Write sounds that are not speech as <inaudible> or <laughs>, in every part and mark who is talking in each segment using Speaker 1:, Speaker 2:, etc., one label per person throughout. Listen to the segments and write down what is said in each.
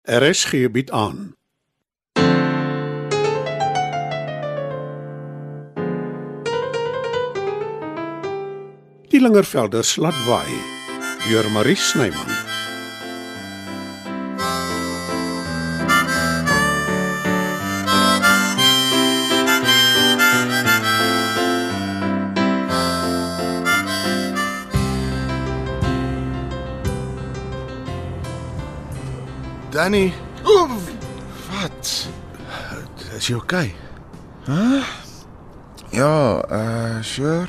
Speaker 1: Er is gebied aan. Die Lingervelders laat waai deur Marie Snyman.
Speaker 2: Danny,
Speaker 3: Oef,
Speaker 2: wat? Is jy okay?
Speaker 3: ja, eh uh, sure.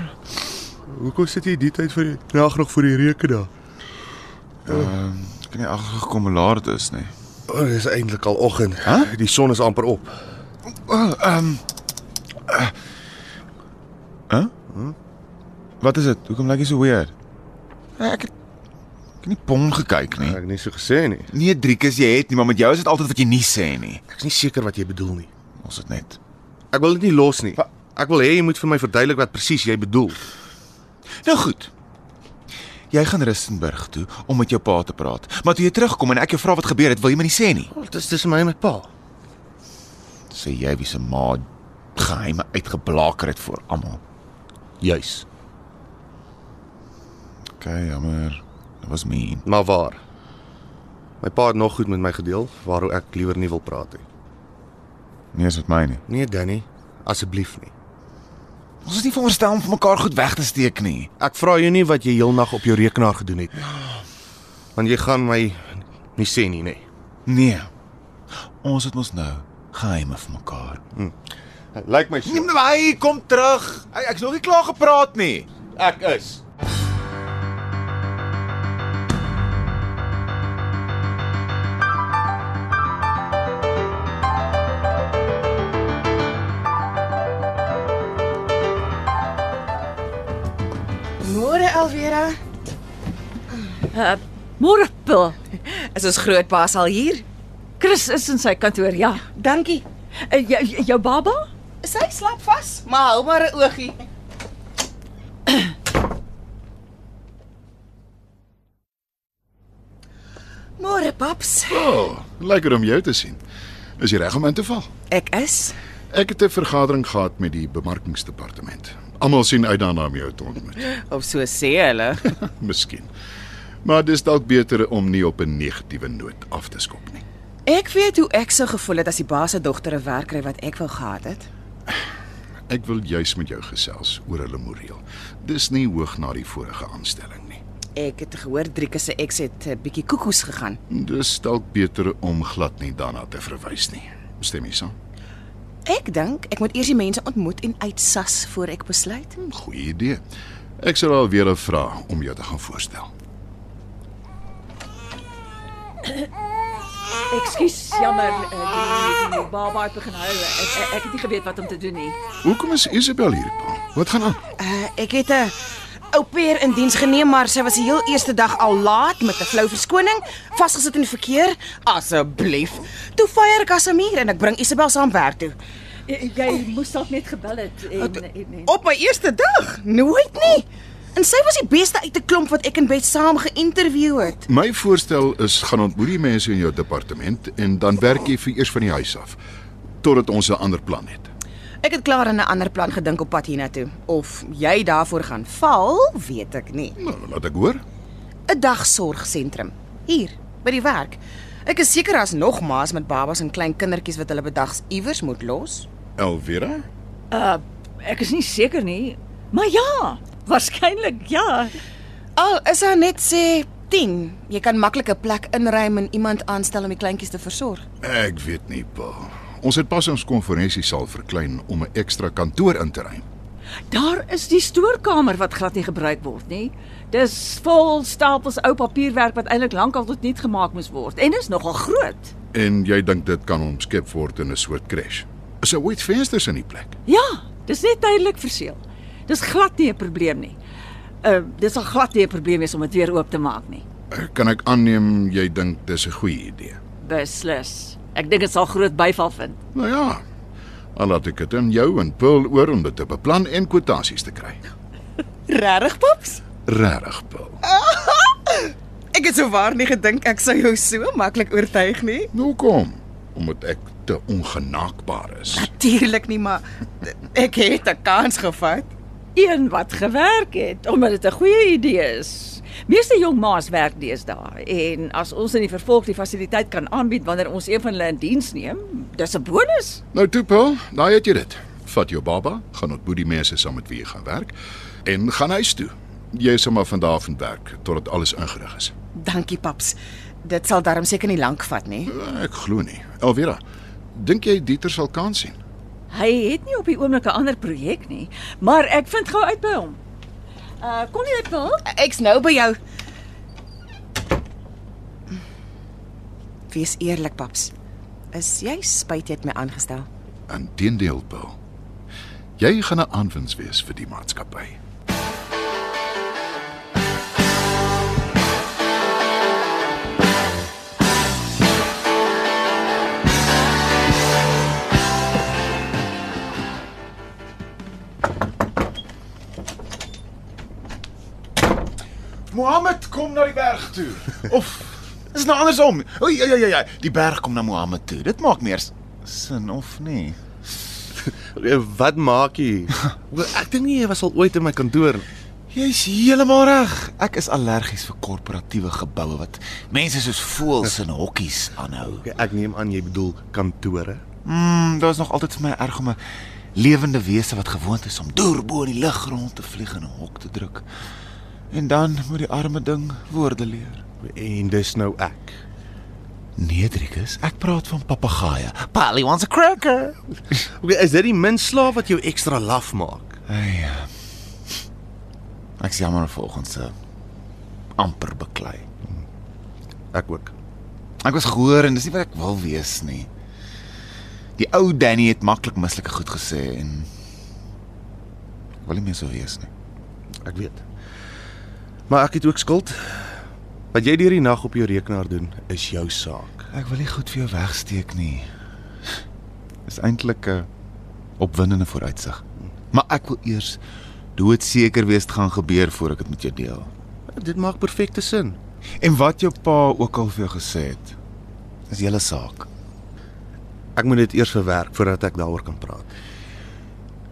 Speaker 2: Hoekom sit jy die tyd vir die nag nog vir die reuke daar?
Speaker 3: Ek kan nie agtergekom hoe laat dit is nee. nie.
Speaker 2: O, oh, dis eintlik al oggend.
Speaker 3: Huh?
Speaker 2: Die son is amper op.
Speaker 3: Wel, ehm eh. um, uh, huh? Wat is dit? Hoekom lyk jy so weird? Eh, Ek het ek het nie pom gekyk nie.
Speaker 2: Ek het nie so gesê nie.
Speaker 3: Nee, Driekus, jy het nie, maar met jou is dit altyd wat jy nie sê nie.
Speaker 2: Ek's nie seker wat jy bedoel nie.
Speaker 3: Ons het net.
Speaker 2: Ek wil dit nie los nie. Ek wil hê jy moet vir my verduidelik wat presies jy bedoel.
Speaker 3: Nou goed. Jy gaan Rustenburg toe om met jou pa te praat. Maar toe jy terugkom en ek jou vra wat gebeur het, wil jy my nie sê nie.
Speaker 2: Wel, dit is tussen my en my pa.
Speaker 3: Sê jy wie se ma geheime uitgeblaker het vir almal.
Speaker 2: Juis.
Speaker 3: OK, jammer. Dit was mean.
Speaker 2: Maar waar? My pa het nog goed met my gedeel waaroor ek liewer nie wil praat nie.
Speaker 3: Nee, is dit my nie.
Speaker 2: Nee, Danny, asseblief nie.
Speaker 3: Ons is nie veronderstel om vir mekaar goed weg te steek nie.
Speaker 2: Ek vra jou nie wat jy heelnag op jou rekenaar gedoen het nie. Want jy gaan my nie sê nie, nê. Nee.
Speaker 3: Nee. Ons het mos nou geheime vir mekaar.
Speaker 2: Lyk my so.
Speaker 3: nou hy kom terug. Hy ek's nog nie klaar gepraat nie.
Speaker 2: Ek is.
Speaker 4: Môre Alvera,
Speaker 5: Môre Pil.
Speaker 4: is ons grootbaas al hier?
Speaker 5: Chris is in sy kantoor, ja.
Speaker 4: Dankie.
Speaker 5: Eh, Jou jou baba?
Speaker 4: Sy slaap vas, maar hou maar 'n oogie. Môre paps.
Speaker 6: Oh, lekker om jou te sien. Is jy reg om in te val?
Speaker 4: Ek is.
Speaker 6: Ek het 'n vergadering gehad met die bemarkingsdepartement. Almal sien uit daarna om jou te ontmoet.
Speaker 4: Of so sê hulle.
Speaker 6: Miskien. Maar dis dalk beter om nie op 'n negatiewe noot af te skop nie.
Speaker 4: Ek weet hoe ek sou gevoel het as die baas se dogter 'n werk kry wat ek wou gehad het.
Speaker 6: Ek wil juis met jou gesels oor hulle moreel. Dis nie hoog na die vorige aanstelling nie.
Speaker 4: Ek het gehoor Drieke se ex het 'n bietjie koekoes gegaan.
Speaker 6: Dis dalk beter om glad nie daarna te verwys nie. Stem jy saam?
Speaker 4: Ek dink ek moet eers die mense ontmoet en uitsas voor ek besluit.
Speaker 6: Hm, Goeie idee. Ek sal alweer 'n vraag om jou te gaan voorstel.
Speaker 5: Ekskuus, jammer. eh, Die, die, die baba het begin huil. Ek, ek, ek het nie geweet wat om te doen nie.
Speaker 6: Hoekom is Isabel hier, pa? Wat gaan aan?
Speaker 4: Uh, ek het 'n ou peer in diens geneem, maar sy was die heel eerste dag al laat met 'n flou verskoning, vasgesit in die verkeer. Asseblief. Toe fyer ek Casimir en ek bring Isabel saam werk toe.
Speaker 5: Eh, Jy moes dalk net gebel het en en en-
Speaker 4: Op my eerste dag, nooit nie. En sy was die beste uit 'n klomp wat ek en Beth saam geïnterview het.
Speaker 6: My voorstel is gaan ontmoet die mense in jou departement en dan werk jy vir eers van die huis af totdat ons 'n ander plan het.
Speaker 4: Ek het klaar aan 'n ander plan gedink op pad hiernatoe. Of jy daarvoor gaan val, weet ek nie.
Speaker 6: Nou, laat ek hoor.
Speaker 4: 'n dagsorgsentrum hier by die werk. Ek is seker as nog ma's met babas en klein kindertjies wat hulle bedags iewers moet los.
Speaker 6: Elvira,
Speaker 5: uh, ek is nie seker nie. Maar ja, waarskynlik ja.
Speaker 4: Al is daar net sê 10, jy kan maklik 'n plek inruim en iemand aanstel om die kleintjies te versorg.
Speaker 6: ek weet nie, pa. Ons het pas ons konferensiesaal verklein om 'n ekstra kantoor in te ruim.
Speaker 5: Daar is die stoorkamer wat glad nie gebruik word nie. Dis vol stapels ou papierwerk wat eintlik lankal tot niet gemaak moes word en is nogal groot.
Speaker 6: En jy dink dit kan omskep word in 'n soort crash. Is daar ooit vensters in die plek?
Speaker 5: Ja, dis net tydelik verseël. Dis glad nie 'n probleem nie. Uh dis al glad nie 'n probleem is om dit weer oop te maak nie.
Speaker 6: Eh, Kan ek aanneem jy dink dis 'n goeie idee?
Speaker 5: Beslis. Ek dink dit sal groot byval vind.
Speaker 6: Nou ja. Al laat ek dit aan jou en Paul oor om dit te beplan en kwotasies te kry.
Speaker 4: Regtig, paps?
Speaker 6: Regtig, Paul.
Speaker 4: Ek Ek het souwaar nie gedink ek sou jou so maklik oortuig nie.
Speaker 6: Hoekom? Omdat ek te ongenaakbaar is.
Speaker 4: Natuurlik nie, maar ek het 'n kans gevat.
Speaker 5: Een wat gewerk het omdat dit 'n goeie idee is. Meeste jong ma's werk deesdae en as ons in die vervolg die fasiliteit kan aanbied wanneer ons een van hulle in diens neem, dis 'n bonus.
Speaker 6: Nou toe, Paul, daai het jy dit. Vat jou baba, gaan ontmoet die mense saam met wie jy gaan werk en gaan huis toe. Jy is sommer vandag van werk totdat alles ingerig is.
Speaker 4: Dankie, paps. Dit sal darm seker nie lank vat nie.
Speaker 6: Ek glo nie. Elvira, dink jy Dieter sal kans sien?
Speaker 5: Hy het nie op die oomblik 'n ander projek nie, maar ek vind gou uit by hom. Uh kom jy wil?
Speaker 4: Ek's nou by jou. Wees eerlik, paps. Is jy spyt jy het my aangestel?
Speaker 6: Inteendeel, Paul. Jy gaan 'n aanwins wees vir die maatskappy.
Speaker 3: Mohammed kom na die berg <laughs> toe. Of is nou andersom. O ja ja ja ja, die berg kom na Mohammed toe. Dit maak meer s- sin of nie?
Speaker 2: Eh, Wat maak jy? Wel, Ek dink nie jy was al ooit in my kantoor nie.
Speaker 3: Jy's heeltemal reg. Ek is allergies vir korporatiewe geboue wat mense soos voëls in hokkies aanhou.
Speaker 2: Oké, Ek neem aan jy bedoel kantore.
Speaker 3: Mm, daar's nog altyd vir my erg om 'n lewende wese wat gewoond is om deur bo in die lug rond te vlieg en 'n hok te druk. En dan moet die arme ding woorde leer.
Speaker 2: En dis nou ek.
Speaker 3: Nedrikus, Nee, ek praat van papegaaie. Polly wants a cracker.
Speaker 2: Okay, is dit die min slaaf wat jou ekstra laf maak?
Speaker 3: Ai. eh, Ek sê maar volgens se amper beklei.
Speaker 2: Ek ook.
Speaker 3: Ek was gehoor en dis nie wat ek wil wees nie. Die ou Danny het maklik mislike goed gesê en ek wil nie meer so wees nie.
Speaker 2: Ek weet. Maar ek het ook skuld. Wat jy deur die nag op jou rekenaar doen, is jou saak.
Speaker 3: Ek wil nie goed vir jou wegsteek nie. Dis eintlik 'n opwindende vooruitsig. Maar ek wil eers doodseker wees dit gaan gebeur voor ek dit met jou deel.
Speaker 2: Dit maak perfekte sin.
Speaker 3: En wat jou pa ook al vir jou gesê het, is julle saak.
Speaker 2: Ek moet dit eers verwerk voordat ek daaroor kan praat.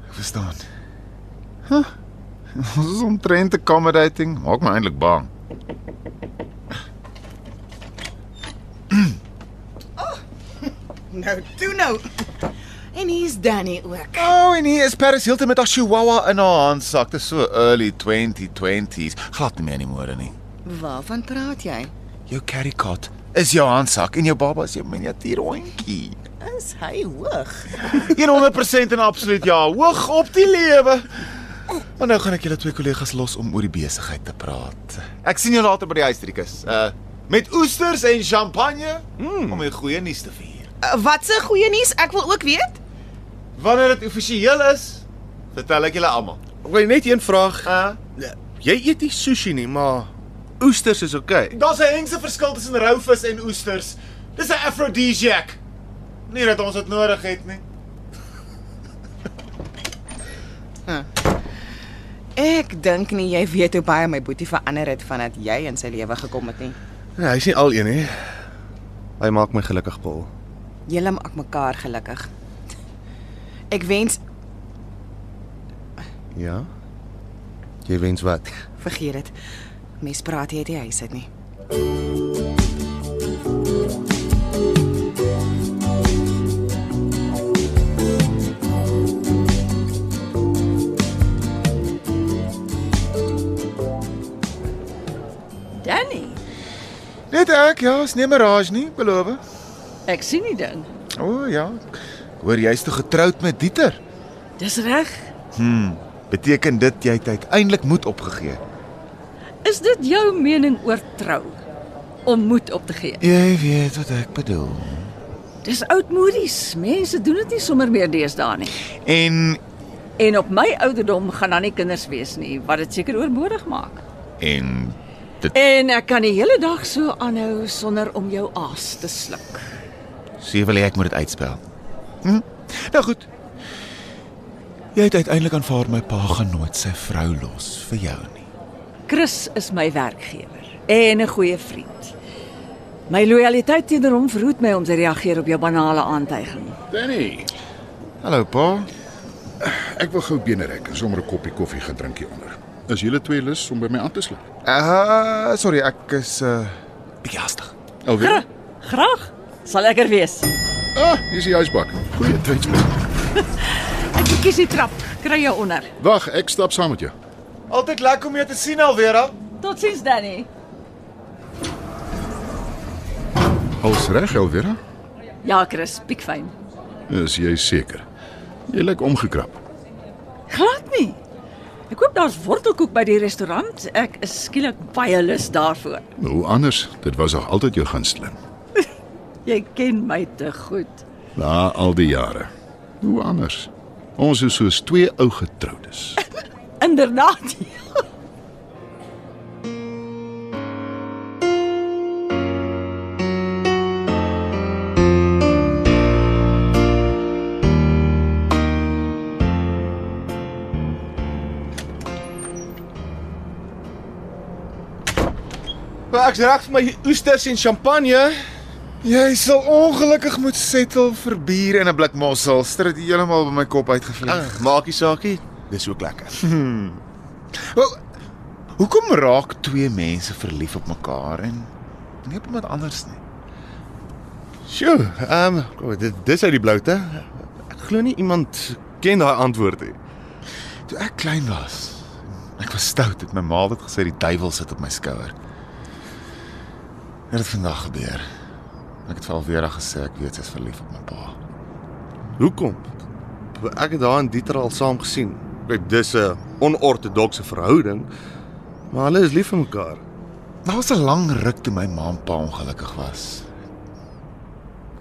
Speaker 3: Ek verstaan. Huh? Ons is omtrent accommodating. Maak my eintlik bang.
Speaker 4: Nou, toe nou. En hier's Danny ook.
Speaker 3: Oh, en hier is Paris Hilton met haar chihuahua in haar handsak. Dis so early 2020s. Glad nie meer in die mode nie.
Speaker 4: Waarvan praat jy?
Speaker 3: Jou carry cat is jou handsak en jou baba is jou miniatuur <laughs> hondjie.
Speaker 4: Is hy hoog?
Speaker 3: 100% en absoluut ja, hoog op die lewe. Maar nou gaan ek julle twee kollegas los om oor die besigheid te praat. Ek sien julle later by die huis, Trikus. Uh met oesters en champagne
Speaker 2: Hmm.
Speaker 3: mm. om die goeie nuus te vier.
Speaker 4: Uh, Wat 'n goeie nuus, ek wil ook weet.
Speaker 3: Wanneer dit amptelik is, vertel ek julle almal.
Speaker 2: Oké, net een vraag.
Speaker 3: Uh
Speaker 2: Jy eet nie sushi nie, maar oesters is oké.
Speaker 3: daar's 'n hengse verskil tussen rou vis en oesters. Dis 'n aphrodisiac. Nie dat ons dit nodig het nie.
Speaker 4: Ek dink nie jy weet hoe baie my boetie verander het vandat jy in sy lewe gekom het nie.
Speaker 2: Nee, hy's nie al een hè. Hy maak my gelukkig, Paul.
Speaker 4: Julle maak mekaar gelukkig. Ek wens
Speaker 2: Ja. Jy wens wat?
Speaker 4: Vergeet dit. Mens praat hier uit die huis uit nie.
Speaker 5: Danny,
Speaker 3: Net ek, ja, is nie 'n mirage nie, beloof.
Speaker 5: ek sien die ding.
Speaker 3: O oh, ja. Ek hoor jy's toe getroud met Dieter.
Speaker 5: Dis reg.
Speaker 3: Hmm. Beteken dit jy het uiteindelik moed opgegee?
Speaker 5: Is dit jou mening oor trou? Om moed op te gee.
Speaker 3: Jy weet wat ek bedoel.
Speaker 5: Dis oudmodies. Mense doen dit nie sommer meer deesdae nie.
Speaker 3: En
Speaker 5: En op my ouderdom gaan daar nie kinders wees nie, wat dit seker oorbodig maak.
Speaker 3: en
Speaker 5: En ek kan die hele dag so aanhou sonder om jou aas te sluk.
Speaker 3: sê wil jy ek moet dit uitspel. Hm? Nou goed. Jy het uiteindelik aanvaar my pa gaan nooit sy vrou los vir jou nie.
Speaker 5: Chris is my werkgewer. en 'n goeie vriend. My lojaliteit teenoor hom verhoed my om te reageer op jou banale aantuiging.
Speaker 6: Danny,
Speaker 2: Hallo pa.
Speaker 6: ek wil gou bene rek en sommer 'n koppie koffie gedrink hier onder. Is julle twee lus om by my aan te sluit?
Speaker 3: Ah,
Speaker 2: Uh sorry, ek is
Speaker 3: eh,
Speaker 2: uh
Speaker 3: Bietjie hastig.
Speaker 6: Alweer?
Speaker 5: Graag. Sal lekker wees.
Speaker 6: Ah, hier is die huisbak. Goeie tydsblik.
Speaker 5: Ek kies die trap. Kry jou onder.
Speaker 6: Wag, ek stap saam met jou.
Speaker 3: Altyd lekker om jou te sien Alvera.
Speaker 5: Totsiens Danny.
Speaker 6: Alles reg, Elvira?
Speaker 5: Ja, Chris, piekfyn.
Speaker 6: Is jy seker? Jy lyk omgekrap.
Speaker 5: Glad nie. Ek koop daar's wortelkoek by die restaurant. Ek is skielik baie lus daarvoor.
Speaker 6: Hoe anders? Dit was nog altyd jou gunsteling.
Speaker 5: Jy ken my te goed.
Speaker 6: Na al die jare. Hoe anders? Ons is soos twee ou getroudes.
Speaker 5: Inderdaad.
Speaker 3: Maar ek's reg vir my oesters en champagne. Jy sal ongelukkig moet settle vir bier en 'n blik mossel. Ster dit heeltemal by my kop uitgevlieg.
Speaker 2: Ag, maak nie saakie. Dis ook lekker.
Speaker 3: Wel, hoekom raak twee mense verlief op mekaar en nie op iemand anders nie?
Speaker 2: Sjoe. Ehm um, dit dis uit die bloute. Ek glo nie iemand ken daai antwoord nie.
Speaker 3: Toe ek klein was, en ek was stout, het my ma altyd gesê die duiwel sit op my skouer. Dit het vandag gebeur. Ek het vir Alvera gesê ek weet sy's verlief op my pa.
Speaker 2: Hoekom? Ek het haar en Dieter al saam gesien. Kyk, dis 'n onortodokse verhouding, maar hulle is lief vir mekaar.
Speaker 3: Daar was 'n lang ruk toe my ma en pa ongelukkig was.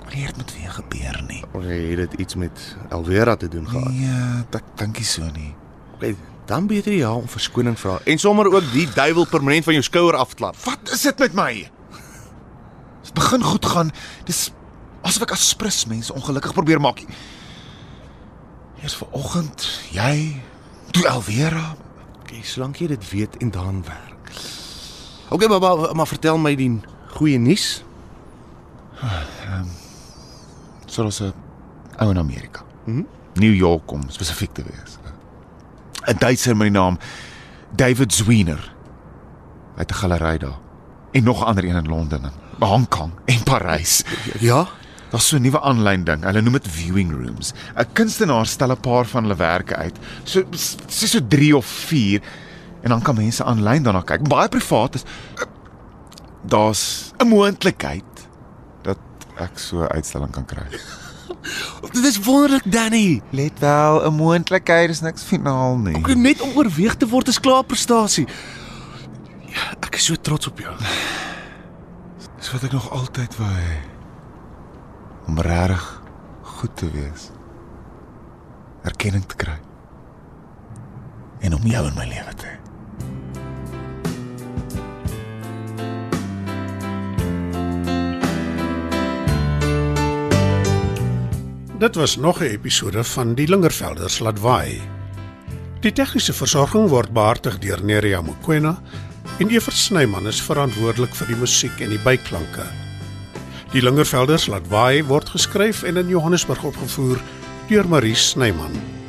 Speaker 3: Maar hier het met weer gebeur nie.
Speaker 2: Of het dit iets met Alvera te doen gehad?
Speaker 3: Nee, ek dink nie so nie.
Speaker 2: Okay, dan beter jy haar om verskoning vra en sommer ook die duiwel permanent van jou skouer afklap.
Speaker 3: Wat is dit met my? Dit begin goed gaan. Dis asof ek aspres mense ongelukkig probeer maak. Eers vanoggend, jy, toe Alvera.
Speaker 2: Okay, solank jy dit weet en daaraan werk. Okay, maar, maar maar vertel my die goeie nuus.
Speaker 3: soos 'n ou in Amerika. Mhm. New York om spesifiek te wees. 'n Duitser met die naam David Zwiener. Hy het 'n galery daar. En nog 'n ander een in Londen en Hong Kong en Parys.
Speaker 2: Ja,
Speaker 3: Daar's so 'n nuwe aanlyn ding. Hulle noem dit viewing rooms. 'n Kunstenaar stel 'n paar van hulle werke uit. So so so 3 of 4 en dan kan mense aanlyn daarna kyk. Baie privaat is. Daar's 'n moontlikheid dat ek so 'n uitstalling kan kry.
Speaker 2: dit is wonderlik Danny.
Speaker 3: Let wel, 'n moontlikheid is niks finaal nie.
Speaker 2: Om net om oorweeg te word is klaar prestasie. Ja, ek is so trots op jou.
Speaker 3: Dis wat ek nog altyd wou hê. Om reg goed te wees. Erkenning te kry. En om jou in my lewe te hê.
Speaker 1: Dit was nog 'n episode van Die Lingervelders laat waai. Die tegniese versorging word behartig deur Neriya Mkwena en Evert Snyman is verantwoordelik vir die musiek en die byklanke. Die Lingervelders laat waai word geskryf en in Johannesburg opgevoer deur Marie Snyman.